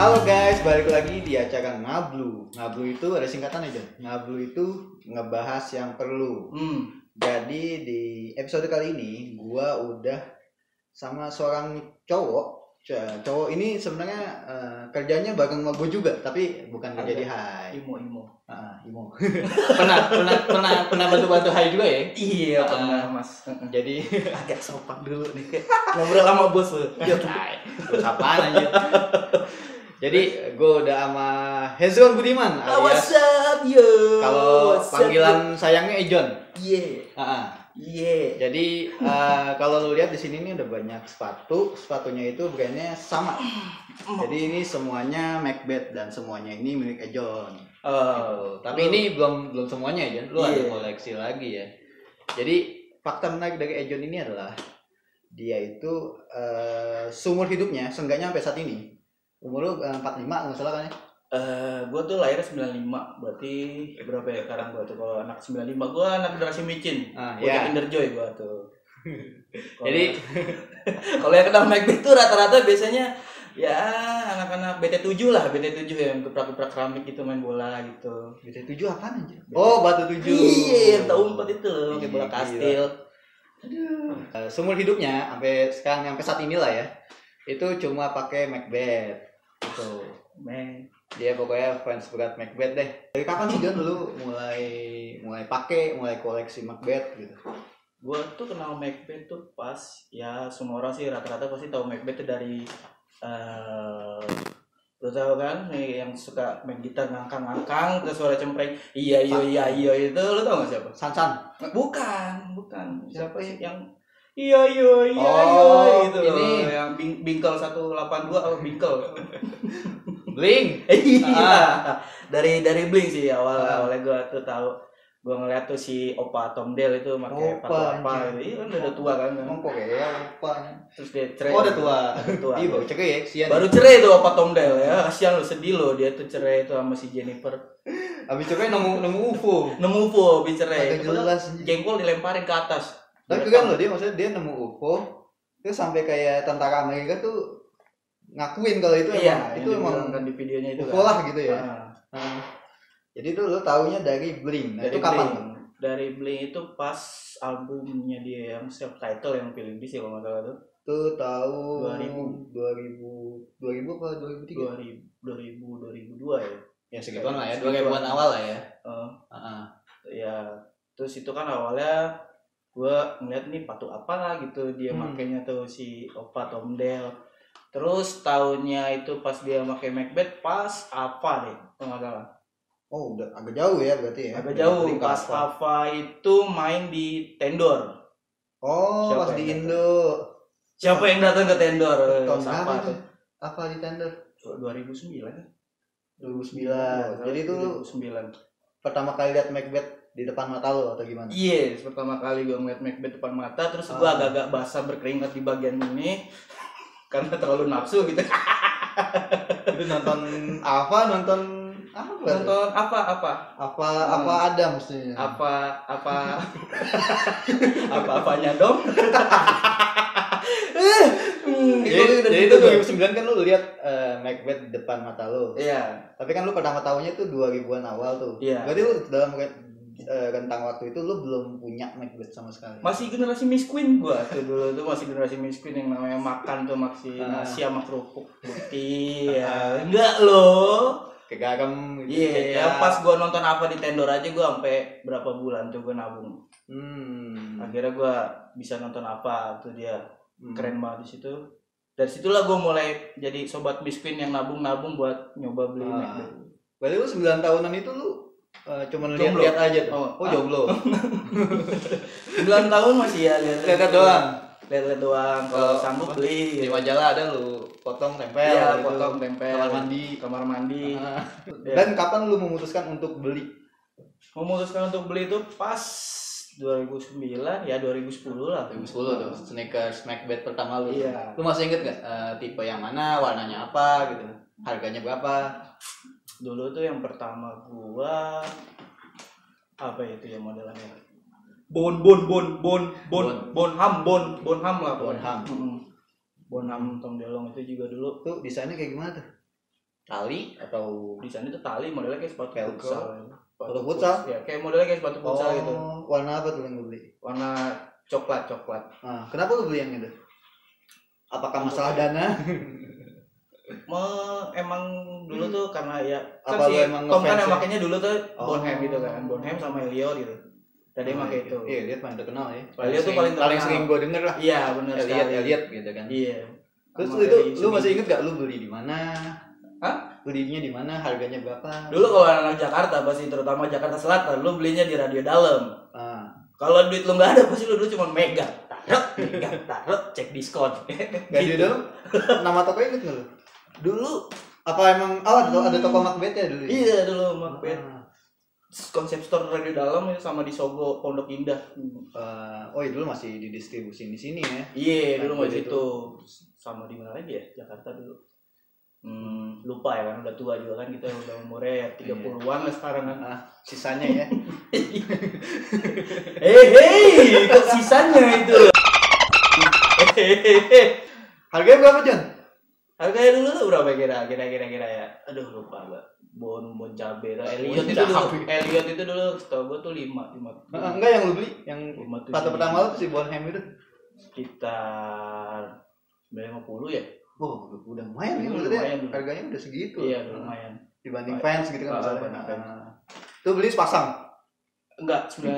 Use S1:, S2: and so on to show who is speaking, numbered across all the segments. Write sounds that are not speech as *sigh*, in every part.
S1: Halo guys, balik lagi di acara Ngablu. Ngablu itu ada singkatan aja. Ngablu itu ngebahas yang perlu.
S2: Hmm.
S1: Jadi di episode kali ini gua udah sama seorang cowok. Ca- Cowok ini sebenarnya eh, kerjanya bareng sama gue juga, tapi bukan kerja di Hai.
S2: Imo Imo.
S1: Ah, Imo.
S3: *laughs* pernah pernah pernah pernah bantu bantu Hai juga ya
S2: Iya
S3: pernah,
S2: mas.
S1: Jadi *laughs*
S3: agak sopan dulu nih ngobrol sama bos lu
S2: *laughs* Iya.
S1: ya terus apaan aja. Jadi gue udah sama Hezron Budiman
S3: Ah,
S1: alias
S2: Ah, up yo?
S1: kalau
S2: What's up, yo?
S1: panggilan sayangnya Ejon.
S2: Iya.
S1: Ah, ah.
S2: Iya.
S1: Jadi eh, kalau lu lihat di sini nih udah banyak sepatu, sepatunya itu brandnya sama. Jadi ini semuanya Macbeth dan semuanya ini milik Ejon.
S2: Oh,
S1: Tapi ini belum belum semuanya Ejon, lu ada
S2: Iya.
S1: koleksi lagi ya. Jadi fakta menarik dari Ejon ini adalah dia itu eh, seumur hidupnya, seenggaknya sampai saat ini, umur lu eh, 45 nggak salah kan ya?
S2: Eh, gua tuh lahir 95, berarti berapa ya sekarang gua tuh kalau anak 95, gua anak generasi micin.
S1: Ah,
S2: Gua
S1: ya.
S2: Kinder Joy gua *laughs* tuh. Kalau-
S1: Jadi
S2: kalau yang kena Macbeth tuh rata-rata biasanya ya anak-anak BT7 lah, BT7 yang keprak-keprak keramik gitu main bola gitu.
S1: BT 7 apaan anjir? Oh, batu 7.
S2: Iya, yang tahu empat itu loh,
S1: Iya,
S2: kayak bola
S1: gila.
S2: kastil.
S1: Eh, seumur hidupnya sampai sekarang sampai saat inilah ya itu cuma pakai Macbeth gitu
S2: Meh.
S1: dia pokoknya fans berat Macbeth deh dari kapan sih John dulu mulai mulai pakai mulai koleksi Macbeth gitu
S2: Gue tuh kenal Macbeth tuh pas ya semua orang sih rata-rata pasti tahu Macbeth tuh dari eh lo tau kan nih, yang suka main gitar ngangkang-ngangkang terus suara cempreng iya iya iya iya itu lo tau gak siapa?
S1: San San
S2: Bukan bukan
S1: Siapa
S2: siapa sih yang iya iya iya
S1: Oh,
S2: iya gitu loh
S1: ini.
S2: yang bing bingkel 182 apa bingkel
S1: Bling
S2: Iya. dari dari Blink sih awal
S1: Ah.
S2: awalnya gue tuh tahu gue ngeliat tuh si Opa Tom Dell itu
S1: Opa,
S2: pakai sepatu apa
S1: anjir.
S2: gitu. Iya kan udah tua kan.
S1: emang Korea apa
S2: Terus dia cerai.
S1: oh udah tua
S2: Udah tua.
S1: iya baru cek ya sian
S2: Baru cerai tuh Opa Tom Dell ya. Kasihan lu sedih lo dia tuh cerai tuh sama si Jennifer.
S1: abis cek nemu nemu UFO
S2: Nemu po habis cerai.
S1: agak
S2: Padahal
S1: jelas
S2: Jengkol dilemparin ke atas.
S1: tapi keren loh dia maksudnya dia nemu UFO terus sampai kayak tentara Amerika tuh ngakuin kalau itu emang
S2: Iya,
S1: itu emang
S2: kan di videonya itu.
S1: UFO lah gitu ya
S2: Ah.
S1: Nah, jadi tuh lo taunya dari Blink. Nah, itu
S2: dari
S1: kapan
S2: Blink.
S1: tuh?
S2: Dari Blink itu pas albumnya dia yang self title yang pilih sih kalau nggak salah tuh.
S1: Itu tahun
S2: 2000.
S1: 2000 2000 apa 2003?
S2: 2000 2000 2002 ya.
S3: ya
S2: segituan lah ya,
S3: dua
S2: 2000-an
S3: awal lah ya
S2: Eh, ya terus itu kan awalnya gue ngeliat nih patu apa lah gitu dia
S1: Hmm.
S2: makainya tuh si opa Tom Dell terus tahunnya itu pas dia pakai Macbeth pas apa deh kalau nggak salah
S1: Oh, udah agak jauh ya berarti ya.
S2: agak
S1: Dari
S2: jauh
S1: Blink ke
S2: pas
S1: apa.
S2: apa itu main di Tendor
S1: Oh,
S2: Siapa
S1: pas
S2: yang
S1: di
S2: datang?
S1: Indo.
S2: siapa yang datang ke Tendor
S1: Tahun
S2: siapa
S1: berapa
S2: tuh
S1: tuh? Apa di tender?
S2: 2009
S1: 2009. Jadi itu lu
S2: 2009
S1: pertama kali lihat Macbeth di depan mata lo atau gimana?
S2: iya pertama kali gue ngeliat Macbeth depan mata terus gue
S1: Ah.
S2: agak-agak basah berkeringat di bagian ini karena terlalu nafsu gitu
S1: itu nonton *laughs* apa? Nonton apa? tuh?
S2: nonton apa apa
S1: apa
S2: Hmm.
S1: apa ada maksudnya?
S2: apa *laughs* apa apa apanya dong Eh, hmm, itu
S1: Jadi,
S2: udah
S1: jadi
S2: gitu
S1: itu
S2: tuh.
S1: 2009 kan lu lihat eh, Macbeth di depan mata lo.
S2: iya
S1: Tapi kan lu pertama tahunnya tuh 2000-an awal tuh.
S2: iya
S1: Berarti lu dalam re- eh, rentang waktu itu lu belum punya Macbeth sama sekali.
S2: masih generasi Miss Queen gua tuh dulu tuh masih generasi Miss Queen yang namanya makan tuh masih
S1: Ah.
S2: nasi sama kerupuk putih ya enggak loh
S1: kegaram gitu.
S2: iya
S1: kayak-
S2: ya, pas gua nonton apa di tendor aja gua sampai berapa bulan tuh gua nabung
S1: Hmm.
S2: akhirnya gua bisa nonton apa tuh dia
S1: Hmm.
S2: keren banget di situ dari situlah gue mulai jadi sobat miskin yang nabung-nabung buat nyoba beli
S1: Ah.
S2: MacBook.
S1: Berarti lu 9 tahunan itu lu eh, cuman
S2: Jomblo.
S1: lihat-lihat aja. tuh.
S2: Oh,
S1: Oh, *laughs* jomblo.
S2: 9 tahun masih ya lihat
S1: Lihat-lihat doang.
S2: Lihat-lihat doang.
S1: Oh.
S2: Kalau sanggup beli.
S3: di
S2: gitu.
S3: majalah ada lu
S1: Potong tempel gitu.
S2: Iya, potong tempel.
S1: kamar mandi.
S2: Kamar mandi.
S1: Ah.
S2: Iya.
S1: Dan kapan lu memutuskan untuk beli?
S2: Memutuskan untuk beli itu pas 2009 ya 2010 lah.
S3: 2010 tuh sneakers Macbeth pertama lu
S2: Iya.
S3: lu masih inget gak eh, tipe yang mana warnanya apa gitu harganya berapa
S2: Dulu tuh yang pertama gua apa itu ya modelannya? Bon bon bon bon bon bon ham bon bon ham lah
S1: Bonham.
S2: Mm. Bonham Tom Delong itu juga dulu
S1: Tuh desainnya kayak gimana tuh?
S3: tali
S1: atau
S2: di sana tuh tali modelnya kayak sepatu
S1: Velcro.
S2: futsal
S1: Sepatu futsal?
S2: ya kayak modelnya kayak sepatu futsal
S1: oh,
S2: gitu
S1: warna apa tuh yang lu beli
S2: warna coklat coklat
S1: nah, kenapa lu beli yang itu apakah masalah
S3: *laughs*
S1: dana
S2: Me- emang dulu tuh karena ya
S1: Hmm. Apa
S2: kan si
S1: lu emang
S2: Tom
S1: ngefans
S2: kan yang
S1: ya?
S2: makainya dulu tuh
S1: Oh.
S2: Bonham gitu kan Bonham sama Elio gitu dan dia pakai itu
S1: iya dia paling terkenal ya
S2: Elio
S3: sering-
S2: tuh paling
S3: paling
S2: terkenal.
S3: sering gue denger lah
S2: iya benar
S3: lihat
S2: sekali
S3: lihat gitu kan
S2: iya
S1: terus
S2: Sama
S1: lu itu
S2: dari
S1: lu
S2: sini.
S3: gitu.
S1: masih inget gak lu beli di mana
S2: Hah?
S1: belinya di mana harganya berapa
S2: dulu kalau anak Jakarta pasti terutama Jakarta Selatan lu belinya di radio dalam
S1: ah,
S2: kalau duit lu nggak ada pasti lu dulu cuma megang taruh megang taruh
S1: *laughs*
S2: cek diskon
S1: gak ada dong nama toko inget gak lu dulu apa emang oh ada, ada toko Macbeth ya dulu ya?
S2: iya dulu Macbeth
S1: Ah.
S2: konsep store radio dalam sama di Sogo Pondok Indah
S1: Eh, oh iya dulu masih didistribusin di sini ya
S2: iya
S1: Macbeth
S2: dulu masih
S1: itu.
S2: itu sama di mana lagi ya Jakarta dulu hmm, lupa ya kan udah tua juga kan kita udah umurnya
S1: Iya.
S2: ya 30-an lah sekarang kan *laughs*
S1: sisanya ya
S2: hei hei kok sisanya itu *laughs* Hehehe.
S1: harganya berapa John
S2: harganya dulu tuh berapa kira kira kira kira ya aduh lupa gua bon bon cabe lah. Elliot itu dulu Elliot itu dulu tau gua tuh lima lima
S1: Eh, enggak yang lu beli yang
S2: lima tujuh,
S1: sepatu pertama lu tuh si Bonham itu
S2: sekitar 950 ya
S1: Wah, udah- udah lumayan ya
S2: Dulu
S1: maksudnya
S2: lumayan dulu.
S1: harganya udah segitu.
S2: iya
S1: Nah,
S2: lumayan
S1: Dibanding
S2: Lumayan.
S1: fans gitu kan
S2: Ah,
S1: misalnya.
S2: banding fans.
S1: Nah, Tuh beli sepasang.
S2: enggak 950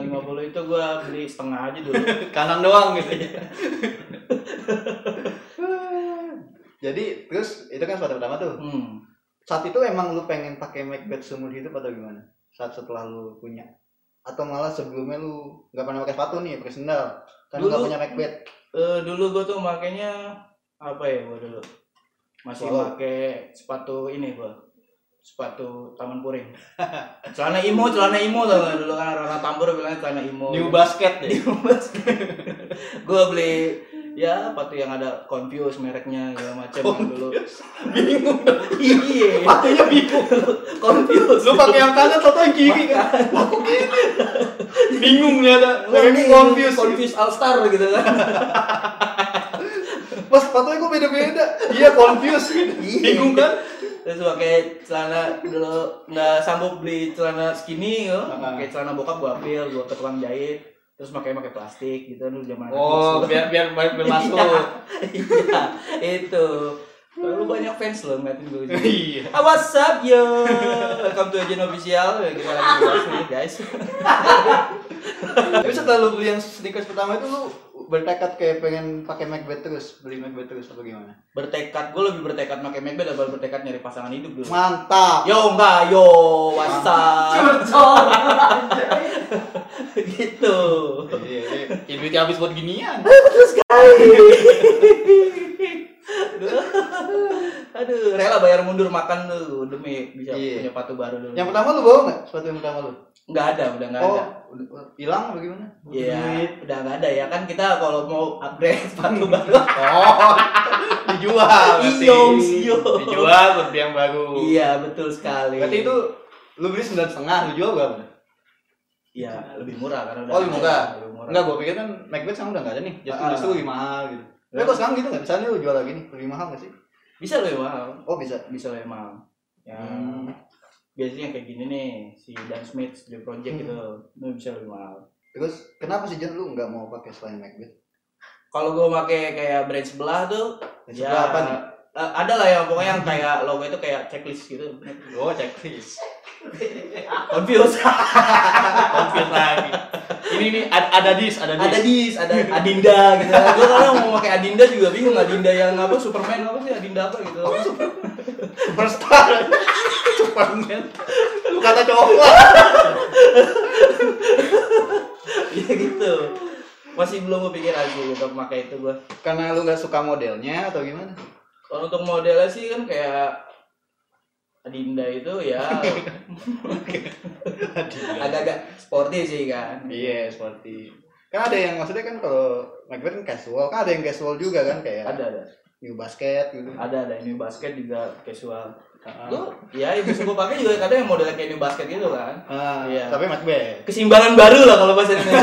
S2: itu gua beli setengah aja dulu
S1: Kanan doang gitu. *laughs* Jadi terus itu kan sepatu pertama tuh.
S2: *laughs* hmm.
S1: Saat itu emang lu pengen pakai Macbeth seumur hidup atau gimana? Saat setelah lu punya atau malah sebelumnya lu nggak pernah pakai sepatu nih, pakai sendal. Kan lu nggak
S2: Dulu-
S1: punya Macbeth.
S2: Eh, dulu gua tuh makainya apa ya gua dulu masih
S1: Wow.
S2: pakai sepatu ini gua sepatu taman puring *laughs* celana imo celana imo tau nggak? dulu kan orang tambur bilang celana imo
S1: basket
S2: gue beli ya sepatu yang ada confuse mereknya segala macam yang dulu
S1: *laughs* Bingung.
S2: iya
S1: Sepatunya bingung.
S2: confuse
S1: Lu pakai yang kanan atau yang kiri kan? Lah, kok kiri? Bingung ternyata. Lagi confused.
S2: confuse all star gitu kan
S1: Mas sepatunya kok beda-beda? Iya confused Bingung kan?
S2: terus pakai celana dulu nggak sanggup beli celana skinny gitu
S1: Ah.
S2: pakai celana bokap gue ambil gue ke tukang jahit terus pakai pakai plastik gitu dulu
S1: Iya.
S2: zaman anak
S3: oh
S2: kos. *laughs*
S3: biar biar biar biar masuk
S2: iya itu terlalu banyak fans loh ngeliatin gue
S1: *laughs* Iya
S2: Ah, what's up yo? Welcome to Agent Official. Kita lagi bahas nih guys.
S1: Tapi setelah lu beli yang sneakers pertama itu lu bertekad kayak pengen pakai Macbeth terus Beli Macbeth terus apa gimana?
S2: Bertekad, gue lebih bertekad pakai Macbeth daripada bertekad nyari pasangan hidup dulu.
S1: Mantap
S2: Yo enggak, yo what's
S1: *laughs*
S2: up? *laughs* gitu.
S1: Iya iya.
S3: ya duitnya habis buat ginian
S2: Aduh, rela bayar mundur makan tuh demi bisa
S1: Iya.
S2: punya sepatu baru dulu.
S1: Yang pertama lu bawa nggak? Sepatu yang pertama lu?
S2: Enggak ada, udah enggak
S1: Oh
S2: ada.
S1: udah- hilang apa gimana?
S2: Iya, udah enggak ada ya kan kita kalau mau upgrade *laughs* sepatu
S1: Hmm.
S2: baru.
S1: *laughs*
S3: oh dijual berarti
S1: Iya,
S2: Iyo, iyo.
S3: dijual buat beli yang baru
S2: iya, betul sekali.
S1: Berarti itu lu beli sembilan setengah lu jual berapa?
S2: Iya, lebih murah karena udah
S1: Oh, lebih murah.
S2: Lebih murah.
S1: Enggak, gua pikir kan Macbeth sekarang udah nggak ada nih Justru
S2: Ah.
S1: justru lebih mahal gitu Tapi kok sekarang gitu nggak? Misalnya lu jual lagi nih, lebih mahal nggak sih?
S2: Bisa lebih mahal.
S1: Oh bisa
S2: Bisa lebih mahal. Ya,
S1: Hmm.
S2: biasanya kayak gini nih si Dan Smith di project gitu, itu bisa lebih mahal.
S1: Terus kenapa sih John lu nggak mau pakai selain Macbeth?
S2: Kalau gua pakai kayak brand sebelah tuh,
S1: Yang sebelah apa nih?
S2: eh, ada lah yang pokoknya yang kayak logo itu kayak checklist gitu.
S3: oh checklist
S2: Confused.
S3: konflik lagi ini nih ada ada dis ada dis
S2: ada dis, ada Adinda gitu. Gua kalau mau pakai Adinda juga bingung Adinda yang apa Superman apa sih Adinda apa gitu.
S1: Superstar. Superman. Lu kata cowok.
S2: *laughs* Iya gitu. Masih belum kepikiran sih untuk gitu, pakai itu gua.
S1: Karena lu nggak suka modelnya atau gimana?
S2: Kalau untuk modelnya sih kan kayak Adinda itu
S1: *laughs*
S2: ya *laughs* agak-agak sporty sih kan.
S1: Iya, seperti kan ada yang maksudnya kan kalau Macbeth kan casual, kan ada yang casual juga kan kayak
S2: Ada ada.
S1: new basket gitu.
S2: Ada ada ini basket juga casual.
S1: Ah.
S2: Lu ya itu gue pakai juga kadang yang modelnya kayak ini basket gitu kan.
S1: Ah,
S2: Iya.
S1: tapi Macbeth. *laughs*
S2: Kesimbangan baru lah kalau bahasa Indonesia.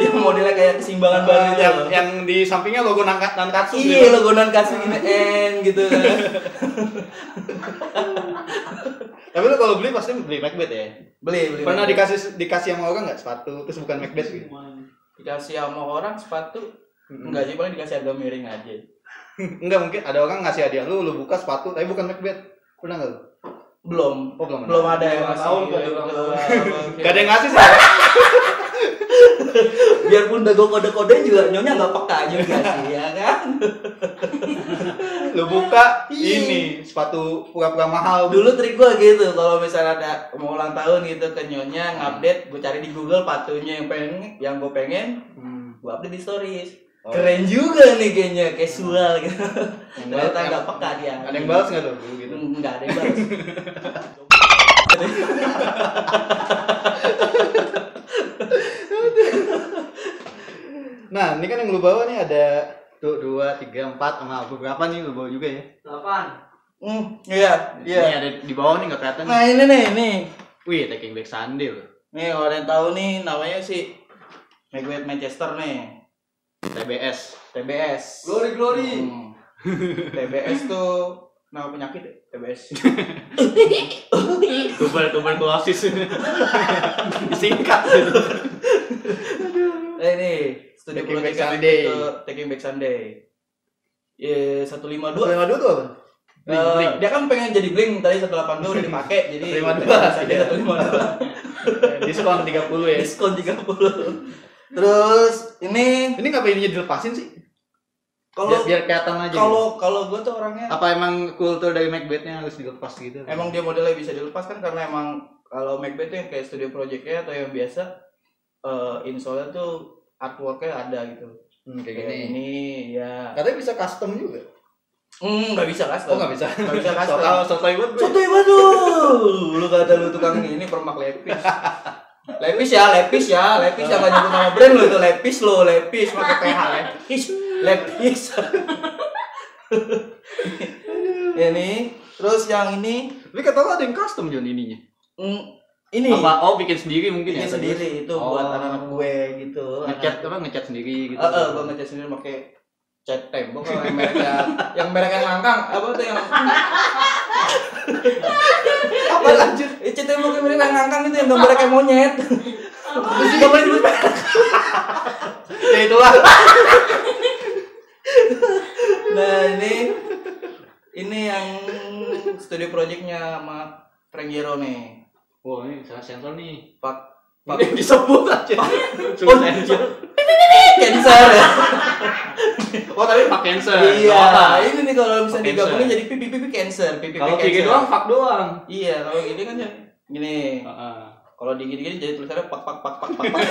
S2: yang modelnya
S1: Ah,
S2: kayak keseimbangan baru
S3: Eh,
S2: itu
S3: yang,
S2: loh.
S3: yang di sampingnya logo nangkat nankatsu
S2: iya
S1: gitu.
S2: lo gonan kasih gini N gitu
S1: *laughs*
S2: kan
S3: Tapi lu kalau beli pasti beli Macbeth ya.
S2: beli beli
S1: Pernah dikasih dikasih sama orang nggak sepatu terus bukan Macbeth gitu?
S2: dikasih sama orang sepatu enggak sih paling dikasih agak miring aja
S1: Enggak mungkin ada orang ngasih hadiah lu, lu buka sepatu tapi bukan Macbeth. Pernah nggak? lu?
S2: belum
S1: Oh belum.
S2: belum ada
S3: Iya,
S2: yang
S4: Ulang
S2: ngasih
S4: tahun, kok, ulang tahun.
S3: *laughs* Gak ada yang ngasih
S2: *laughs*
S3: sih.
S2: biarpun udah gue kode-kode juga nyonya nggak peka juga sih ya kan
S3: Lu buka
S2: Iya.
S3: ini sepatu pura-pura mahal.
S2: dulu trik gue gitu kalau misalnya ada mau ulang tahun gitu ke nyonya ngupdate gue cari di Google patunya yang pengen yang gue pengen gue update di stories
S3: Oh. Hmm.
S2: keren juga nih kayaknya casual gitu ternyata nggak peka dia Hmm,
S3: Ada yang balas nggak tuh dulu gitu?
S2: nggak ada yang balas
S1: Nah, ini kan yang lu bawa nih ada tuh dua tiga empat sama aku berapa nih lu bawa juga ya?
S4: Delapan.
S2: hmm iya iya
S3: Ini ada di bawah nih nggak kelihatan.
S2: nah ini nih nih
S3: Wih, taking back Sunday loh.
S2: nih kalau ada yang tahu nih namanya si Maguire Manchester nih
S3: TBS.
S2: TBS
S4: Glory glory.
S2: Hmm. TBS tuh nama penyakit ya?
S1: *laughs*
S2: TBS
S3: Tubal tuberkulosis.
S1: *laughs*
S3: Singkat. gitu.
S2: Eh ini studio
S1: Taking Back
S2: Politika
S1: Sunday.
S2: itu Taking Back Sunday. Eh 152
S1: lima dua tuh apa?
S3: Blink,
S2: Eh,
S3: blink.
S2: dia kan pengen jadi bling tadi 182 udah dipakai jadi
S1: 152,
S2: Sunday
S1: *laughs*
S2: 152
S3: Diskon 30 ya.
S2: diskon 30 terus ini
S1: Ini ngapain ini dilepasin sih?
S2: kalau
S1: biar, biar kelihatan
S3: gitu.
S1: aja.
S2: kalau kalau gue tuh orangnya
S1: gitu. apa emang kultur dari Macbethnya harus dilepas gitu?
S2: emang dia modelnya bisa dilepas kan karena emang kalau Macbeth tuh yang kayak studio projectnya atau yang biasa eh insolnya tuh artworknya ada gitu
S1: Hmm, kayak gini.
S2: kayak ini ya
S1: Katanya bisa custom juga.
S2: Hmm, nggak bisa
S1: Oh
S2: custom
S1: nggak bisa.
S2: nggak
S3: *laughs*
S2: bisa custom
S3: Soal sotoy buat gue.
S2: Sotoy banget lu. Lu kata lu tukang ini permak lepis. Lepis ya, lepis ya, lepis ya nggak nyebut nama brand lu itu lepis lo, lepis pakai PH lepis, lepis. ini, terus yang ini,
S3: Tapi kata lo ada yang custom John ininya.
S2: mm, ini,
S3: Apa oh bikin sendiri mungkin
S1: Iya,
S2: ini
S3: ya?
S2: sendiri itu buat
S3: Oh.
S2: anak-anak gue gitu.
S3: Ngecat apa ngecat sendiri gitu.
S2: Eh, eh, gua ngecat sendiri pakai cat tembok kalau yang merek yang, yang merek yang langkang apa tuh yang apa lanjut? Eh, cat tembok yang merek yang langkang itu yang gambar kayak monyet. Gak boleh nyebut merek.
S3: Ya itulah.
S2: Nah ini ini yang studio projectnya sama Frank Gero nih.
S3: Wah, ini salah sensor nih.
S2: Pak Pak
S3: Ini *laughs* disebut aja.
S2: Oh,
S3: Suruh sensor.
S2: cancer ya.
S3: Oh, tapi Pak Oh, Cancer.
S2: Iya.
S3: Gak apa-apa.
S2: Ini nih kalau misalnya
S3: Cancer.
S2: digabungin jadi pipi pipi cancer, pipi
S3: Kalau gigi doang, fak doang.
S2: Iya, kalau gini kan ya gini.
S3: Heeh.
S2: Kalau digini-gini jadi tulisannya pak pak pak pak pak pak.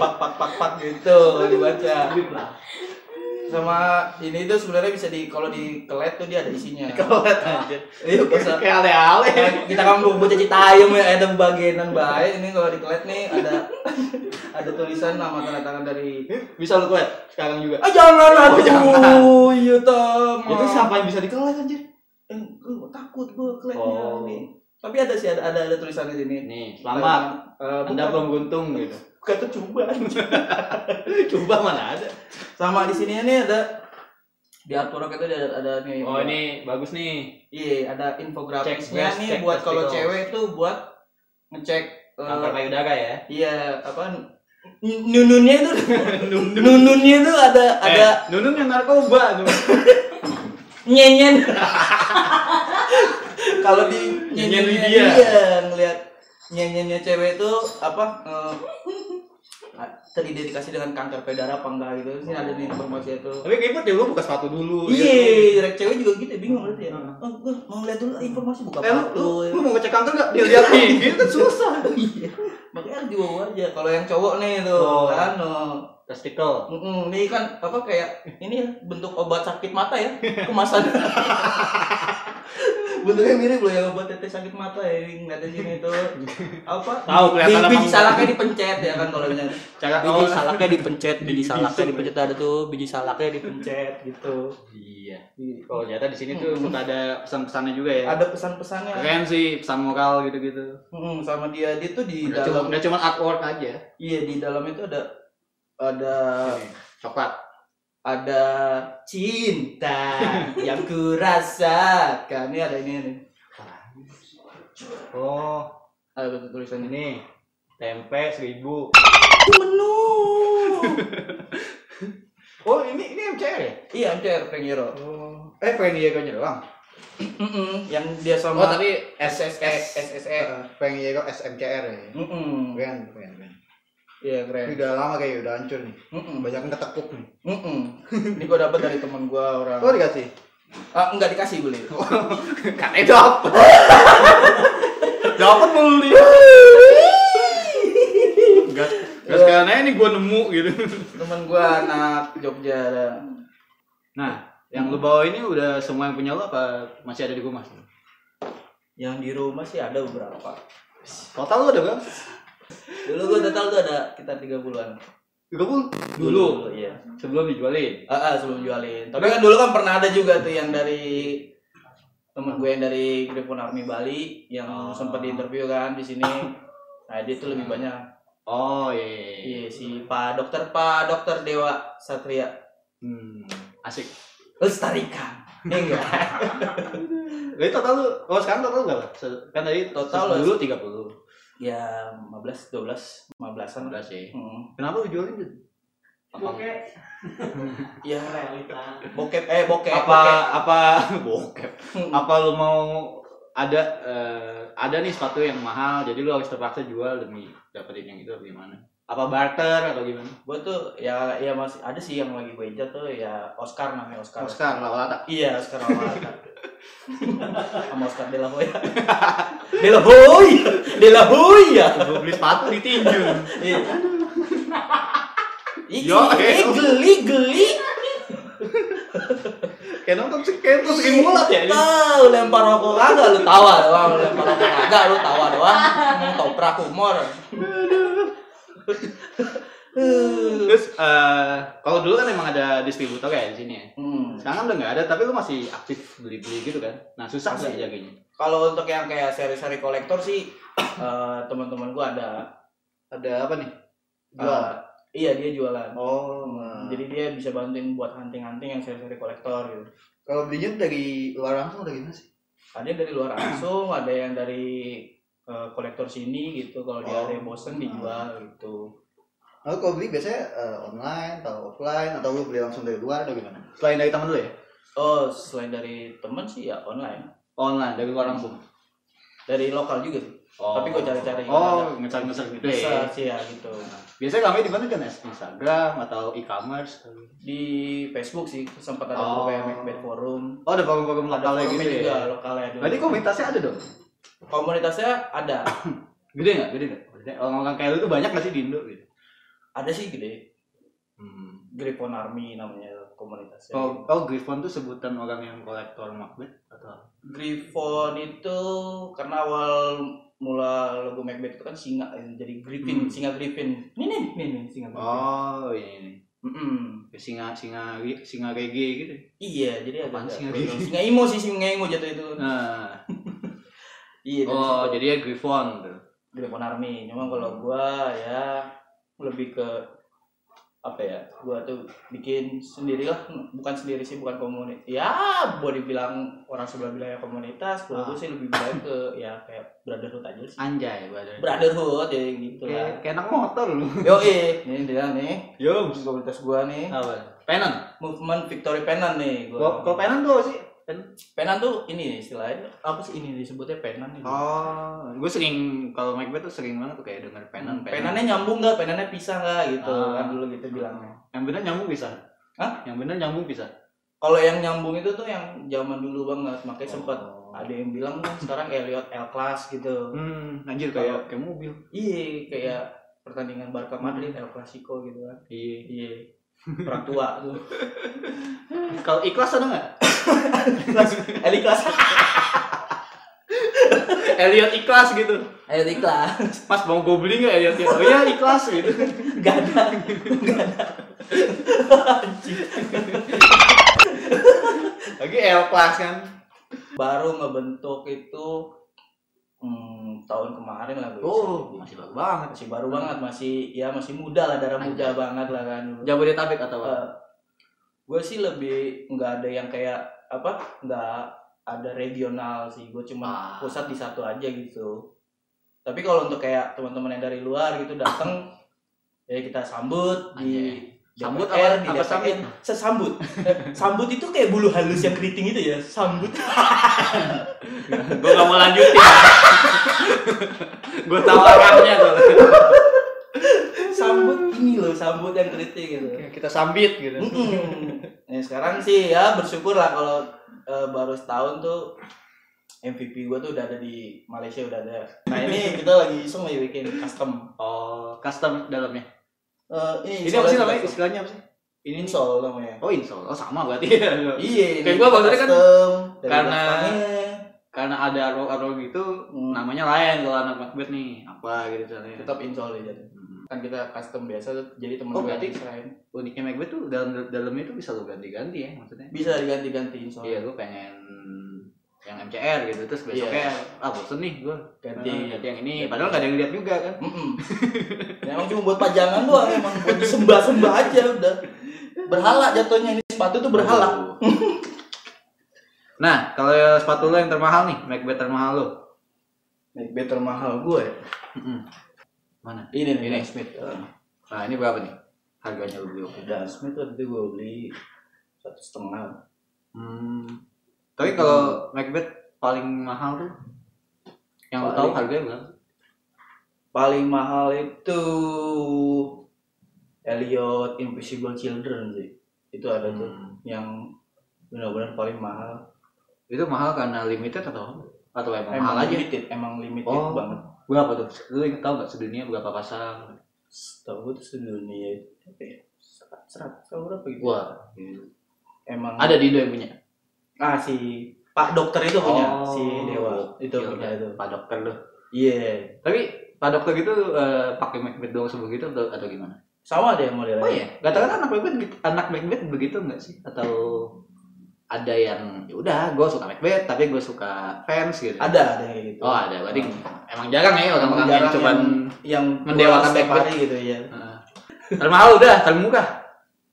S2: pak pak pak pak gitu dibaca. Sama ini tuh sebenarnya bisa di kalau di kelet tuh dia ada isinya.
S3: Kelet aja.
S2: Iya, bisa.
S3: Kayak ale-ale.
S2: Kita kan mau baca citayam ya ada bagianan baik ini kalau di kelet nih ada ada tulisan nama tanda tangan dari
S3: Bisa lu kelet sekarang juga.
S2: Ah jangan
S3: Oh, jangan.
S2: aduh, iya teman.
S3: Itu siapa yang bisa dikelet anjir?
S2: Eh, gua takut gua keletnya
S3: Oh.
S2: nih. Tapi ada sih ada ada, ada tulisan di sini. Eh,
S3: Nih, selamat. Anda belum untung gitu. *laughs*
S2: kata coba
S3: Coba mana ada.
S2: sama di sini nih ada di Arturo itu ada ada nih
S3: Oh, ini bagus nih.
S2: iya ada infografisnya
S3: Cek breast,
S2: nih
S3: cek
S2: buat kalau
S3: testicles.
S2: cewek tuh buat ngecek eh,
S3: Kanker payudara ya.
S2: iya apa n- nununnya
S3: *laughs*
S2: itu nununnya itu ada ada
S3: Eh, Nunung yang narkoba Nunung.
S2: nyenyen
S3: *laughs*
S2: kalau di
S3: Nyenyen
S2: nyenyennya
S3: Lydia.
S2: dia ngelihat nyenyennya cewek itu apa
S3: *laughs*
S2: eh, teridentifikasi dengan kanker payudara apa enggak gitu sini ada nih informasi itu
S3: Tapi ribet ya lu buka sepatu dulu. gitu.
S2: Iya, direct cewek juga gitu bingung berarti ya. Oh, gua mau lihat dulu informasi buka
S3: Eh, lu,
S2: kartu.
S3: lu,
S2: *laughs*
S3: lu mau ngecek kanker nggak? Dilihat *laughs* nih, gitu kan susah.
S2: Iya. Makanya harus dibawa aja. Kalau yang cowok nih tuh,
S3: Oh.
S2: kan. oh.
S3: Testikel.
S2: Mm-mm, Ini kan apa kayak ini ya bentuk obat sakit mata ya *laughs* kemasan. Bentuknya mirip loh yang obat tetes sakit mata ya yang ada sini itu apa?
S3: Tahu, kelihatan apa
S2: biji
S3: enggak.
S2: salaknya dipencet ya kan kalau misalnya.
S3: Cara
S2: Biji salaknya dipencet, biji salaknya dipencet ada tuh biji salaknya dipencet gitu.
S3: Iya.
S1: Iya.
S2: Di-
S1: Kalau ternyata di sini tuh
S3: Hmm.
S1: ada pesan-pesannya juga ya.
S2: ada pesan-pesannya
S1: Keren sih pesan moral gitu-gitu.
S2: Hmm, sama dia dia tuh di
S1: Udah cuma,
S2: dalam
S1: udah cuma artwork
S3: Eh.
S1: aja.
S2: iya di dalam itu ada ada
S1: Coklat.
S2: ada cinta yang kurasakan ini ada ini nih
S1: Oh,
S2: ada tulisannya
S1: ini
S2: ini
S1: tempe seribu.
S2: menu
S1: Oh, ini ini MCR ya?
S2: *laughs* iya MCR Pengiro
S1: Oh. Eh, pengen Diego nya doang.
S2: Mm-mm, yang dia sama
S1: Oh, tapi SSS
S2: SSE
S5: pengen ya kok SMCR ya.
S2: Mm-mm.
S5: Keren, keren, keren.
S2: iya keren
S5: Ini udah lama kayaknya udah hancur nih.
S2: Mm-mm.
S5: Banyak yang ketekuk nih.
S2: Mm-mm. ini gua dapat dari teman gua orang
S5: Oh dikasih.
S2: ah enggak dikasih beli
S1: *laughs* Katanya dapet. *laughs* dapet mulu dia. Gas, gas karena ini gue nemu gitu.
S2: teman gua anak Jogja
S1: Nah, yang lu bawa ini udah semua yang punya lu apa masih ada di rumah?
S2: yang di rumah sih ada beberapa
S1: Total lu ada berapa?
S2: dulu gua total tuh ada sekitar
S1: 30
S2: 30-an
S1: dulu
S2: dulu iya
S1: sebelum dijualin.
S2: Ah, ah, sebelum jualin. Tapi kan dulu kan pernah ada juga tuh yang dari temen gue yang dari Griffon Army Bali yang
S1: Oh.
S2: sempat diinterview kan di sini. Nah, dia
S1: Ah.
S2: tuh lebih banyak.
S1: Oh iya.
S2: Iya si Pak Dokter Pak Dokter Dewa Satria
S1: Hmm, asik. *laughs*
S2: Lestarikan. Ya enggak.
S1: Jadi total lu, kalau sekarang total lu berapa? Se- Kan tadi
S2: Total
S1: total
S2: lu-
S1: dulu 30.
S2: ya 15 12 15-an lah.
S1: 15 sih.
S2: Hmm.
S1: Kenapa lu jualin? Jun?
S2: Ya bokep eh bokep
S1: apa apa *laughs* bokep
S2: bokep.
S1: apa lu mau ada eh, ada nih sepatu yang mahal jadi lu harus terpaksa jual demi dapetin yang itu atau gimana apa barter atau gimana
S2: gue tuh ya ya masih ada sih yang lagi gue incer tuh ya Oscar namanya Oscar.
S1: Oscar lata
S2: Iya, Oscar Lawata. Sama Oscar De La Hoya. De La Hoya. De La Hoya.
S1: gue beli sepatu di tinju
S2: Iya. Ih,
S1: Yo,
S2: geli,
S1: eh.
S2: geli, geli.
S1: *laughs* kayak nonton sih kayak nonton sering mulat ya ini.
S2: Tahu lempar rokok kagak lu tawa doang, lu lempar rokok kagak lu tawa doang. Hmm, Toprak humor. Eh.
S1: terus eh, kalau dulu kan emang ada distributor kayak di sini ya
S2: Hmm.
S1: sekarang udah nggak ada tapi lu masih aktif beli beli gitu kan nah susah
S2: Masih.
S1: nggak jaganya
S2: Kalau untuk yang kayak seri-seri kolektor sih eh, teman-teman gua ada
S5: Ada apa nih? Jual.
S2: jual. iya, dia
S5: Ah.
S2: jualan.
S5: oh.
S1: Nah.
S2: Hmm,
S5: Jadi
S2: Jadi dia bisa bantuin buat hunting-hunting yang seri-seri kolektor gitu.
S5: kalau belinya dari luar langsung atau gimana sih?
S2: Ada yang dari luar langsung, ada yang dari eh, kolektor sini gitu. Kalau dia
S5: Oh.
S2: ada yang bosen dijual gitu.
S5: Lalu kalau beli biasanya eh, online atau offline atau lu beli langsung dari luar atau gimana?
S1: selain dari temen lu ya
S2: Oh, selain dari temen sih ya online.
S1: online dari luar langsung
S2: Dari lokal juga sih.
S1: oh.
S2: Tapi gua cari-cari
S1: oh ngecer ngecer gitu ya
S2: Bisa sih ya gitu.
S5: Nah,
S1: Biasanya kami di mana
S5: ya?
S1: kan Nes? Instagram atau e-commerce?
S2: Di Facebook sih sempat ada
S1: Oh.
S2: forum Macbeth Forum.
S1: Oh, ada program-program
S2: Ada
S1: lokalnya
S2: forumnya
S1: gitu
S2: juga
S1: ya.
S2: lokalnya dulu.
S1: Berarti komunitasnya ada dong?
S2: komunitasnya ada.
S1: Gede nggak? Gede nggak? Maksudnya Orang-orang kayak lu tuh banyak nggak sih di Indo gitu?
S2: ada sih gede.
S1: Hmm.
S2: Griffon Army namanya komunitasnya.
S1: Oh, oh, Griffon tuh sebutan orang yang kolektor Macbeth atau apa?
S2: Griffon itu karena awal mula logo Macbeth itu kan singa ya, jadi
S1: Hmm.
S2: Griffin singa Griffin ini nih ini nih singa Griffin
S1: Oh,
S5: iya,
S1: ini,
S2: Mm-mm.
S1: ini. Singa singa singa reggae gitu.
S2: iya jadi
S1: Apaan
S2: ada
S1: singa
S2: ada-
S1: Griffin?
S2: singa imo sih singa imo jatuh itu
S1: Nah,
S2: iya dari
S1: oh,
S2: situ.
S1: jadi ya Griffon tuh.
S2: Griffon Army cuma kalau gua ya lebih ke apa ya gua tuh bikin sendirilah bukan sendiri sih bukan komunitas ya boleh dibilang orang sebelah bilangnya komunitas
S1: Ah.
S2: kalau gua sih lebih bilang ke ya kayak brotherhood aja sih
S1: Anjay, brother.
S2: brotherhood ya gitu lah
S1: Kayak, kayak anak motor lu.
S2: Yo, ini dia nih.
S1: *laughs* Yo,
S2: Komunitas gua nih.
S1: apa? Penan.
S2: Movement Victory Penan nih
S1: Kok
S2: Ah. gua.
S1: kok penan tuh apa sih?
S2: Penan tuh ini nih istilahnya. Apa sih ini disebutnya Penan nih.
S1: Oh, gue sering kalau Macbeth tuh sering banget tuh kayak denger penan, penan.
S2: Penannya nyambung nggak? Penannya pisah nggak gitu
S1: Ah.
S2: kan dulu gitu bilangnya.
S1: Yang bener nyambung bisa.
S2: Hah?
S1: Yang bener nyambung bisa.
S2: Kalau yang nyambung itu tuh yang zaman dulu banget, makanya sempet
S1: Oh.
S2: ada yang bilang kan sekarang Elliot L class gitu.
S1: Hmm, anjir kayak kayak mobil.
S2: Iya, kayak pertandingan Barca Madrid El Clasico gitu kan.
S1: Iya.
S2: Iya. Perang tua tuh. *laughs*
S1: Kalau ikhlas ada nggak?
S2: Eli Class.
S1: *laughs* Elliot ikhlas gitu.
S2: Eli Class.
S1: Mas mau gue beli nggak Elliot? Oh iya ikhlas gitu.
S2: Gak ada. Gak ada.
S6: *laughs* Lagi L class kan.
S2: baru ngebentuk itu hmm, tahun kemarin lah gue.
S1: Oh, masih bagus banget.
S2: masih baru banget masih ya masih muda lah darah muda banget lah kan
S1: Jabodetabek atau apa?
S2: Eh, gue sih lebih nggak ada yang kayak apa nggak ada regional sih gue cuma
S1: Ah.
S2: pusat di satu aja gitu tapi kalau untuk kayak teman-teman yang dari luar gitu datang ya kita sambut di
S1: Sambut
S2: DPR,
S1: apa-
S2: di
S1: apa
S2: DPR.
S1: sambut?
S2: sesambut Eh, sambut itu kayak bulu halus yang keriting itu ya sambut
S1: gue gak mau lanjutin. gue tahu arahnya tuh.
S2: sambut ini loh sambut yang keriting gitu
S6: Kita sambit gitu.
S2: Mm-mm. Nah, sekarang sih ya bersyukur lah kalau eh, baru setahun tuh MVP gue tuh udah ada di Malaysia udah ada. Nah ini kita lagi iseng lagi bikin custom.
S1: Oh, custom dalamnya.
S2: Eh, ini
S1: Ini apa sih
S2: insole
S1: namanya?
S2: custom.
S1: Istilahnya apa sih?
S2: Ini insole namanya.
S1: Oh, insol. Oh, sama berarti.
S2: Iya. ini
S1: Kayak gua maksudnya kan
S2: custom, dari
S1: karena-
S2: belakangnya.
S1: Karena ada role-role gitu,
S2: Hmm,
S1: namanya lain kalau anak Macbeth nih. Apa gitu misalnya.
S2: tetap insole aja.
S1: Hmm.
S2: Kan kita custom biasa tuh, jadi temen
S1: Oh,
S2: gue
S1: berarti-
S2: yang desain.
S1: Uniknya Macbeth tuh dalam dalamnya tuh bisa lo ganti-ganti ya maksudnya.
S2: bisa diganti-ganti insole.
S1: Iya, gue pengen yang MCR gitu terus besoknya ah bosen nih gue
S2: Iya.
S1: ganti
S2: Ganti.
S1: Nah, ganti yang ini padahal gak ada yang lihat juga kan
S2: Mm-mm. Nah, emang cuma buat pajangan doang emang buat disembah-sembah aja udah. Berhala jatuhnya ini sepatu tuh berhala.
S1: *laughs* Nah, kalau ya sepatu lo yang termahal nih, Macbeth termahal lo.
S2: Macbeth termahal gue
S1: Mana?
S2: ini nih eh.
S1: Ini.
S2: Dan Smith
S1: Nah, ini berapa nih? Harganya lo beli waktu itu.
S2: Dan Smith waktu itu gue beli satu setengah
S1: Hmm. Tapi kalau Macbeth paling mahal tuh yang lo tahu
S2: Paling-
S1: harganya berapa?
S2: paling mahal itu Elliot Invisible Children sih itu ada tuh yang benar-benar paling mahal
S1: Itu mahal karena limited atau atau emang, mahal aja?
S2: limited emang limited
S1: Oh.
S2: banget
S1: Berapa tuh? Lo ingat tahu nggak sedunia berapa pasang?
S2: setahu gue tuh sedunia itu apa ya serat serat atau berapa gitu
S1: Wah,
S2: emang
S1: ada di Indo yang punya.
S2: ah si Pak dokter itu punya
S1: Oh. iya,
S2: si Dewa itu
S1: Gila,
S2: punya itu
S1: Pak dokter lo.
S2: iya
S1: Tapi Pak dokter gitu eh, pakai Macbeth doang sebegitu atau, atau gimana?
S2: sama deh modelnya
S1: Oh iya, katakan anak Macbeth gitu- anak Macbeth begitu nggak sih? Atau ada yang ya udah gue suka Macbeth tapi gue suka fans gitu.
S2: ada ada yang kayak gitu
S1: Oh ada, berarti emang jarang ya orang-orang yang
S2: jarang
S1: cuman
S2: yang
S1: Mendewakan
S2: setiap
S1: Macbeth.
S2: hari gitu ya
S1: Heeh. termahal udah termurah.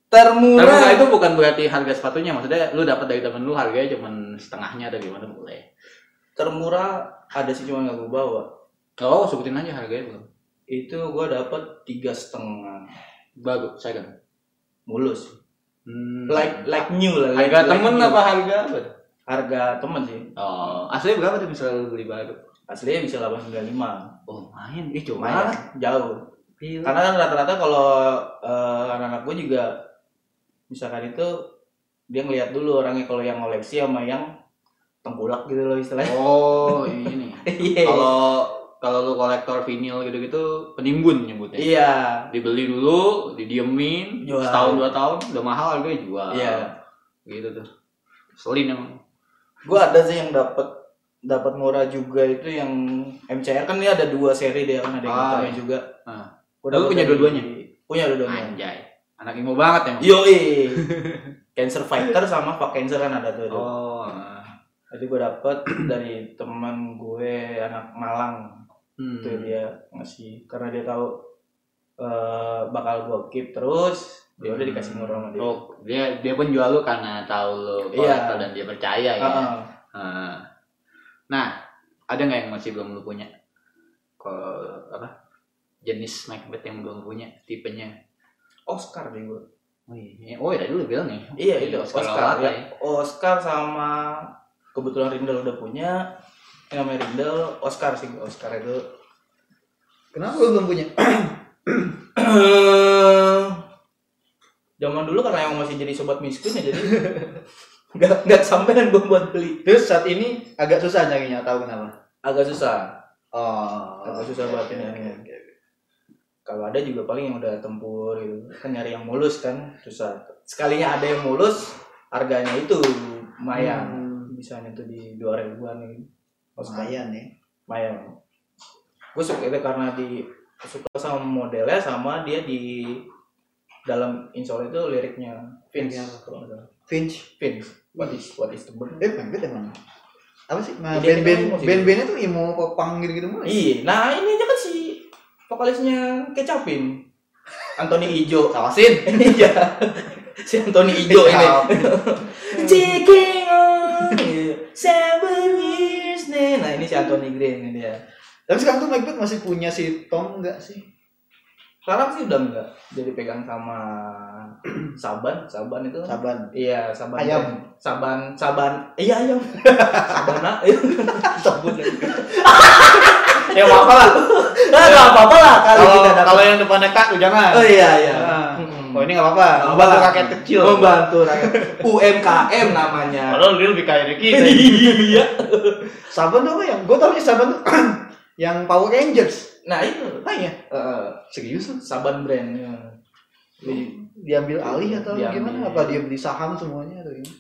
S2: termurah,
S1: Termurah itu bukan berarti harga sepatunya, maksudnya lu dapat dari temen lu harganya cuman setengahnya atau gimana boleh.
S2: termurah ada sih cuma nggak gue bawa
S1: Oh sebutin aja harganya belum.
S2: itu gue dapat tiga setengah
S1: Bagus, saya kan.
S2: mulus
S1: Hmm.
S2: like like new lah like,
S1: harga
S2: like
S1: temen
S2: new.
S1: apa harga? apa?
S2: harga temen sih
S1: Oh, aslinya berapa tuh misalnya lu beli baru?
S2: aslinya bisa 895
S1: Oh main, ih
S2: lumayan
S1: cuma
S2: jauh karena kan rata-rata kalau eh, anak-anak gue juga misalkan itu dia ngeliat dulu orangnya kalau yang koleksi sama yang tengkulak gitu loh istilahnya *laughs*
S1: Oh ini.
S2: Iya.
S1: kalau kalau lu kolektor vinil gitu-gitu penimbun nyebutnya
S2: iya
S1: dibeli dulu didiemin
S2: Jual.
S1: setahun dua tahun udah mahal harganya jual
S2: iya
S1: gitu tuh selin emang
S2: gue ada sih yang dapat dapat murah juga itu yang MCR kan ini ada dua seri dia kan ada yang
S1: Ah,
S2: hitamnya
S1: iya.
S2: juga
S1: Ah.
S2: Gua
S1: Lu
S2: dapet
S1: punya
S2: dari-
S1: dua-duanya?
S2: punya dua-duanya
S1: anjay anak imo banget emang
S2: *laughs* yoi cancer fighter sama pak cancer kan ada tuh oh.
S1: oh ah.
S2: jadi gue dapet dari teman gue anak Malang
S1: hmm.
S2: itu
S6: iya.
S2: dia ngasih karena dia tahu eh, bakal gue keep terus dia udah dikasih murah sama dia
S1: oh, dia dia pun jual lu karena tahu lu
S2: Iya.
S1: kolektor dan dia percaya ya
S2: Ah, ah.
S1: Ah. nah ada nggak yang masih belum lu punya kalau apa jenis Macbeth yang belum punya tipenya
S2: Oscar deh gue
S1: oh iya oh iya tadi lu bilang nih
S2: Iya itu
S1: Oscar
S2: Oscar,
S1: Lawata
S2: ya. Oscar sama kebetulan Rindel udah punya yang namanya Rindel Oscar sih Oscar itu *clears throat*
S6: Kenapa lu belum punya?
S2: zaman dulu karena yang masih jadi sobat miskin ya jadi *laughs* nggak nggak sampean gue buat beli
S6: Terus saat ini agak susah nyarinya, tahu kenapa?
S2: agak susah
S6: Oh,
S2: Agak susah
S6: oke,
S2: buat
S6: oke,
S2: ini.
S6: oke, oke.
S2: kalau ada juga paling yang udah tempur gitu kan nyari yang mulus kan susah sekalinya ada yang mulus harganya itu lumayan
S6: Hmm,
S2: misalnya tuh di dua ribuan gitu. Oscar
S6: lumayan ya.
S2: Mayang. Gue suka itu karena di suka sama modelnya sama dia di dalam insol itu liriknya Vince.
S6: Vince. Finch.
S2: Vince. What is What is the burn?
S1: Eh, Macbeth emang apa sih? Nah,
S2: Identik
S1: band-band
S2: sama musik.
S1: band-bandnya tuh emo pop punk gitu-gitu mulu. ya?
S2: Iya. Nah ini aja kan si vokalisnya kecapin. Anthony Ijo. *laughs*
S3: Sawasin. Iya,
S2: Iya. si Anthony
S1: Iya.
S2: Ijo ini. Taking on seven years nih. Nah ini si Anthony Green ini dia.
S1: Tapi sekarang tuh Macbeth masih punya si Tom enggak sih?
S2: Sekarang sih udah enggak jadi pegang sama *clears throat* Saban, Saban itu.
S1: Saban.
S2: Iya, Saban.
S1: Ayam.
S2: Saban, Saban. Iya,
S1: *laughs*
S2: ayam. Sabana. Sabun.
S3: Ya mau apa lah.
S2: Nah, enggak apa-apa lah kalau
S3: Kalau
S2: kita dapat.
S3: kalau yang depannya kak jangan.
S2: Oh iya, iya.
S3: Ah.
S2: Mm-mm.
S1: Oh ini nggak apa-apa.
S2: Nggak
S1: Membantu
S2: apa-apa.
S1: rakyat kecil.
S2: Membantu
S1: *laughs*
S2: rakyat. UMKM namanya.
S3: Oh,
S2: *laughs*
S3: Padahal dia lebih kaya dari kita.
S2: Iya.
S1: Saban tuh apa yang? Gue tau nih Saban tuh *clears throat* yang Power Rangers.
S2: Nah, itu.
S1: Ah iya.
S2: Heeh.
S1: Serius? tuh?
S2: Saban brand. ya.
S1: Di- diambil alih atau
S2: Diambil.
S1: gimana? Apa dia beli saham semuanya atau gimana?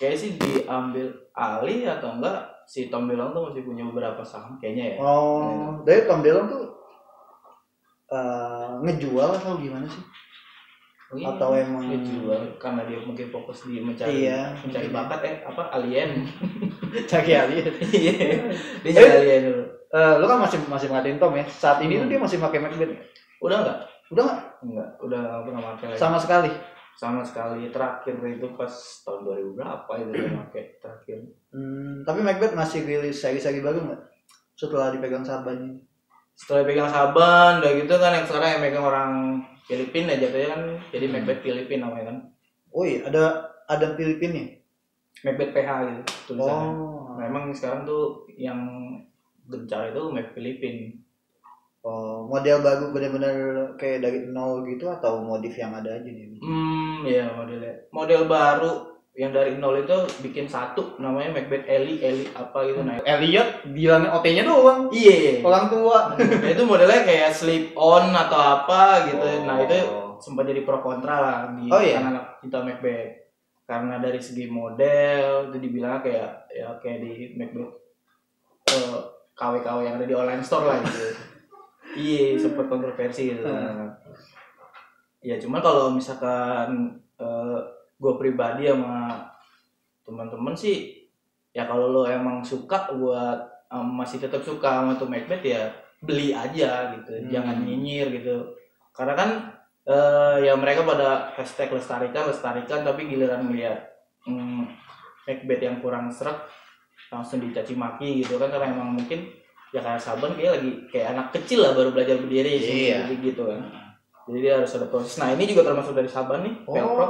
S2: Kayaknya sih diambil alih atau enggak si Tom Belong tuh masih punya beberapa saham kayaknya ya.
S1: Oh, dari Tom Delong tuh eh, ngejual atau gimana sih? Oh, iya. Atau
S2: Hmm.
S1: emang
S2: dijual karena dia mungkin fokus di mencari
S1: Iya,
S2: mencari
S1: mungkin.
S2: bakat eh apa
S1: *laughs*
S2: alien
S1: Caki Ali.
S2: Iya. dia jadi alien dulu
S1: Eh, lu kan masih masih ngadain Tom ya. Saat ini tuh
S2: Hmm.
S1: dia masih pakai Macbeth. nggak?
S2: udah enggak
S1: Udah nggak?
S2: enggak udah nggak pernah pakai lagi.
S1: Sama sekali.
S2: sama sekali terakhir itu pas tahun 2000 berapa itu dia pakai terakhir
S1: Hmm, tapi Macbeth masih rilis seri-seri baru nggak? Setelah dipegang Saban.
S2: setelah pegang Saban udah gitu kan yang sekarang yang pegang orang Filipina ya jatuhnya kan jadi
S3: Hmm.
S2: Macbeth Filipina namanya kan
S1: Oh iya, ada ada Filipin nih.
S2: Macbeth PH gitu tulisannya
S1: Oh.
S2: nah, emang sekarang tuh yang gencar itu Macbeth Filipina
S1: Oh, model baru benar-benar kayak dari nol gitu atau modif yang ada aja nih?
S2: Hmm, ya modelnya. Model baru yang dari nol itu bikin satu namanya Macbeth Eli Eli apa gitu nah.
S3: Elliot bilangnya OT-nya doang.
S2: Iya.
S1: Orang tua.
S2: *laughs* Nah, itu modelnya kayak slip on atau apa gitu.
S3: Oh.
S2: Nah, itu sempat jadi pro kontra lah di
S1: Oh, iya.
S2: kalangan anak cinta Macbeth. Karena dari segi model itu dibilang kayak ya kayak di Macbeth eh, KW-KW yang ada di online store lah
S1: *laughs*
S2: gitu. iya, sempat kontroversi gitu.
S1: Hmm.
S2: Ya cuman kalau misalkan gue Eh, pribadi sama teman-teman sih ya kalau lo emang suka buat em, masih tetap suka sama tuh Macbeth ya beli aja gitu
S1: Hmm.
S2: jangan nyinyir gitu karena kan eh, ya mereka pada hashtag lestarikan lestarikan tapi giliran melihat mm, Macbeth yang kurang serak langsung dicaci maki gitu kan karena emang mungkin ya kayak Saban kayak lagi kayak anak kecil lah baru belajar berdiri sih,
S1: Iya.
S2: gitu, gitu kan jadi dia harus ada proses nah ini juga termasuk dari Saban nih
S1: Oh.
S2: Velcro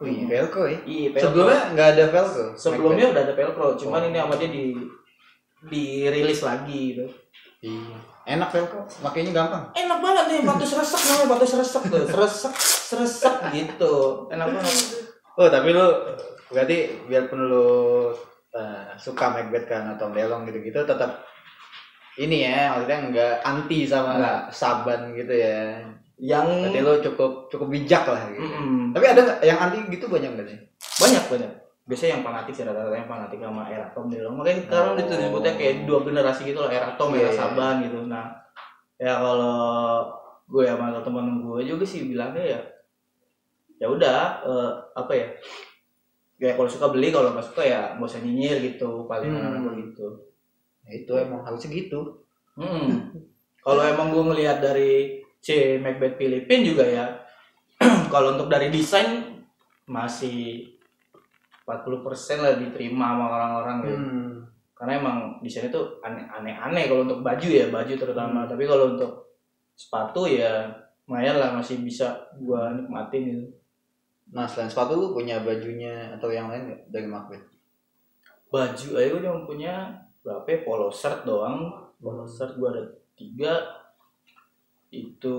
S1: Oh iya, Velcro ya.
S2: Iya, Velcro.
S1: Sebelumnya nggak ada Velcro.
S2: sebelumnya udah ada Velcro, cuman
S1: Oh.
S2: ini sama dia di dirilis lagi gitu.
S1: Iya. Enak Velcro, makainya gampang.
S2: Enak banget nih batu seresek namanya batu seresek tuh, seresek seresek gitu. Enak banget.
S1: Oh, tapi lu berarti biarpun lu eh, suka Macbeth karena Tom Delong gitu-gitu tetap ini ya maksudnya nggak anti sama
S2: Nggak. Hmm.
S1: Saban gitu ya.
S2: Yang
S1: Berarti lu cukup cukup bijak lah gitu.
S2: Mm-mm.
S1: Tapi ada nggak yang anti gitu banyak nggak sih?
S2: banyak banyak. Biasanya yang fanatik sih rata-rata yang fanatik sama era Tom gitu. Makanya sekarang
S3: Oh.
S2: itu disebutnya kayak dua generasi gitu lah, era Tom,
S1: Iya,
S2: era
S1: iya.
S2: Saban gitu. Nah, ya kalau gue sama teman gue juga sih bilangnya ya ya udah eh, apa ya ya kalau suka beli kalau nggak suka ya nggak usah nyinyir gitu paling
S1: Hmm.
S2: anak gue gitu
S1: Ya, itu
S2: Hmm.
S1: emang harusnya gitu.
S2: Mm-mm. Hmm. Kalau emang gue ngelihat dari C Macbeth Filipin juga ya, *clears throat* kalau untuk dari desain masih 40% lah diterima sama orang-orang gitu.
S1: Hmm.
S2: Karena emang desainnya tuh ane- aneh-aneh kalau untuk baju ya, baju terutama. Tapi kalau untuk sepatu ya lumayan lah masih bisa gua nikmatin gitu.
S1: Nah, selain sepatu lu punya bajunya atau yang lain nggak dari Macbeth?
S2: Baju aja gue cuma punya berapa ya, polo shirt doang. Polo shirt gua ada tiga itu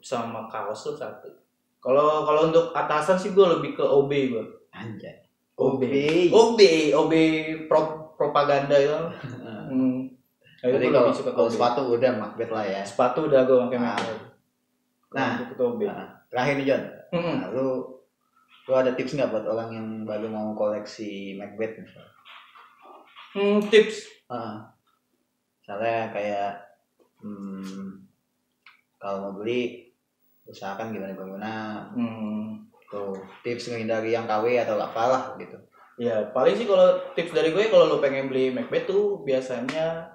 S2: sama kaos tuh satu kalau kalau untuk atasan sih gue lebih ke OB gue
S1: Anjay.
S2: OB. OB OB pro, propaganda itu
S1: *laughs*
S2: hmm. Ayo
S1: Jadi
S2: gue
S1: kalau,
S2: lebih suka ke
S1: kalau
S2: OB.
S1: sepatu udah Macbeth lah ya.
S2: sepatu udah gue pakai
S1: Nah.
S2: merek
S1: Nah.
S2: untuk ke Hmm, OB
S1: Terakhir nih John,
S2: Mm-mm.
S1: Nah, lu lu ada tips nggak buat orang yang baru mau koleksi Macbeth misalnya?
S2: Hmm, tips
S1: Heeh.
S2: Ah.
S1: misalnya kayak hmm, kalau mau beli usahakan gimana gimana
S2: hmm.
S1: tuh tips menghindari yang KW atau apalah gitu
S2: Ya paling sih kalau tips dari gue kalau lo pengen beli Macbeth tuh biasanya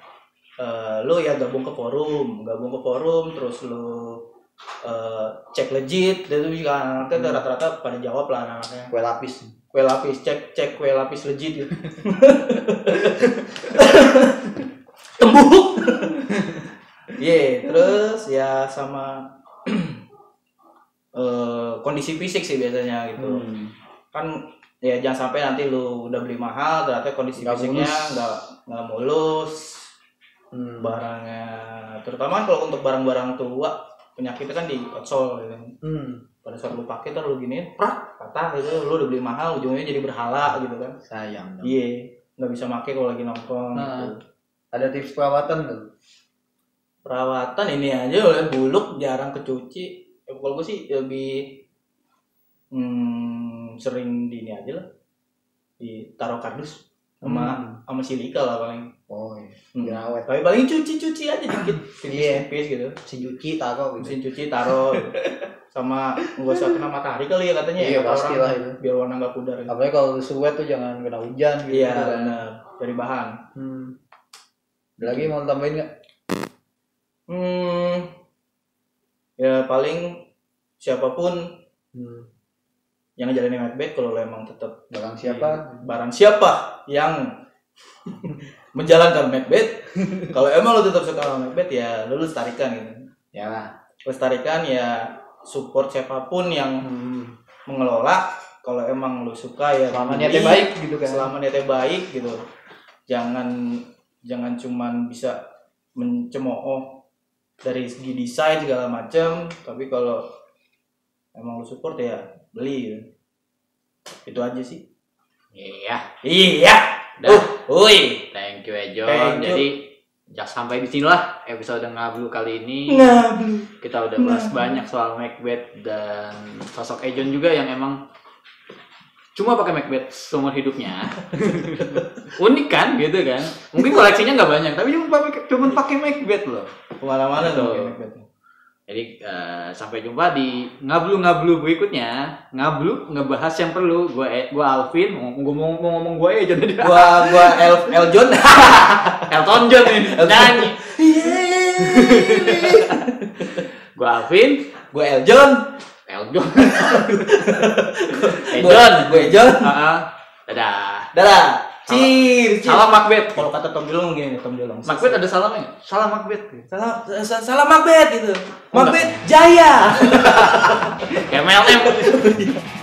S2: eh, lo ya gabung ke forum, gabung ke forum terus lo eh, cek legit dan itu juga anak-anaknya tuh rata-rata pada jawab lah anak-anaknya
S1: kue lapis Gitu.
S2: kue lapis cek cek kue lapis legit gitu. tembuk Iya, terus ya sama *clears throat* eh, kondisi fisik sih biasanya gitu
S1: Hmm.
S2: kan ya jangan sampai nanti lu udah beli mahal ternyata kondisi
S1: Nggak
S2: fisiknya
S1: mulus.
S2: nggak nggak mulus
S1: Hmm.
S2: barangnya terutama kan kalau untuk barang-barang tua penyakitnya kan di outsole gitu.
S1: Hmm.
S2: pada saat lu pakai terus lu giniin prak patah gitu lu udah beli mahal ujungnya jadi berhala gitu kan
S1: sayang dong.
S2: iya nggak bisa make kalau lagi nongkrong
S1: Nah.
S2: gitu.
S1: ada tips perawatan tuh
S2: perawatan ini aja oleh buluk jarang kecuci ya, kalau gue sih lebih hmm, sering di ini aja lah ditaruh kardus
S1: Hmm.
S2: sama sama silika lah paling
S1: oh iya
S2: Hmm.
S1: biar awet
S2: tapi paling cuci cuci aja
S1: *clears throat*
S2: dikit tipis tipis gitu
S1: mesin cuci taruh gitu
S2: mesin cuci taruh sama nggak usah kena matahari kali ya katanya ya,
S1: iya
S2: kata
S1: pasti lah Iya,
S2: orang.
S1: itu
S2: biar warna nggak pudar gitu.
S1: apalagi kalau suwet tuh jangan kena hujan gitu
S2: iya
S1: kan.
S2: benar dari bahan
S1: hmm. ada lagi mau tambahin nggak
S2: hmm ya paling siapapun
S1: hmm.
S2: yang ngejalanin Macbeth kalau lo emang tetap
S1: barang siapa
S2: barang siapa yang *laughs* menjalankan
S1: *laughs*
S2: Macbeth kalau emang lo tetap suka sama Macbeth ya lo lestarikan gitu
S1: ya lah
S2: lestarikan ya support siapapun yang
S1: hmm.
S2: mengelola kalau emang lo suka ya
S1: selama
S2: dibeli.
S1: niatnya baik gitu kan
S2: selama niatnya baik gitu jangan jangan cuman bisa mencemooh dari segi desain segala macam tapi kalau emang lo support ya beli gitu. itu aja sih
S3: Iya,
S2: iya
S3: dah.
S2: woi
S3: Thank you Ejon.
S2: Thank you.
S3: Jadi ya sampai di sinilah episode ngablu kali ini.
S1: Nah,
S3: Kita udah bahas
S2: Nah.
S3: banyak soal Macbeth dan sosok Ejon juga yang emang cuma pakai Macbeth seumur hidupnya. Unik kan gitu kan? Mungkin koleksinya nggak banyak, tapi cuma pakai cuma pakai Macbeth loh.
S2: kemana-mana
S3: Betul.
S2: dong Macbeth.
S3: Jadi eh, sampai jumpa di ngablu-ngablu berikutnya. Ngablu ngebahas yang perlu. Gua E- gua Alvin, mau gua mau, mau ngomong gua Ejon tadi.
S2: gua gua Elf
S1: *laughs*
S2: Eljon
S3: *laughs* Elton John ini nyanyi.
S1: Iya.
S3: Gua Alvin,
S2: gua Eljon
S3: *laughs* Eljon.
S2: gua
S3: Eljon.
S2: gua Eljon
S3: Heeh. Dadah.
S2: dadah cheers
S3: Salam Macbeth.
S2: kalau kata Tom Jolong gini Tom Jolong
S3: Macbeth ada salamnya nggak? Salam Macbeth.
S2: salam sa- salam Macbeth gitu Macbeth jaya
S3: Kayak MLM.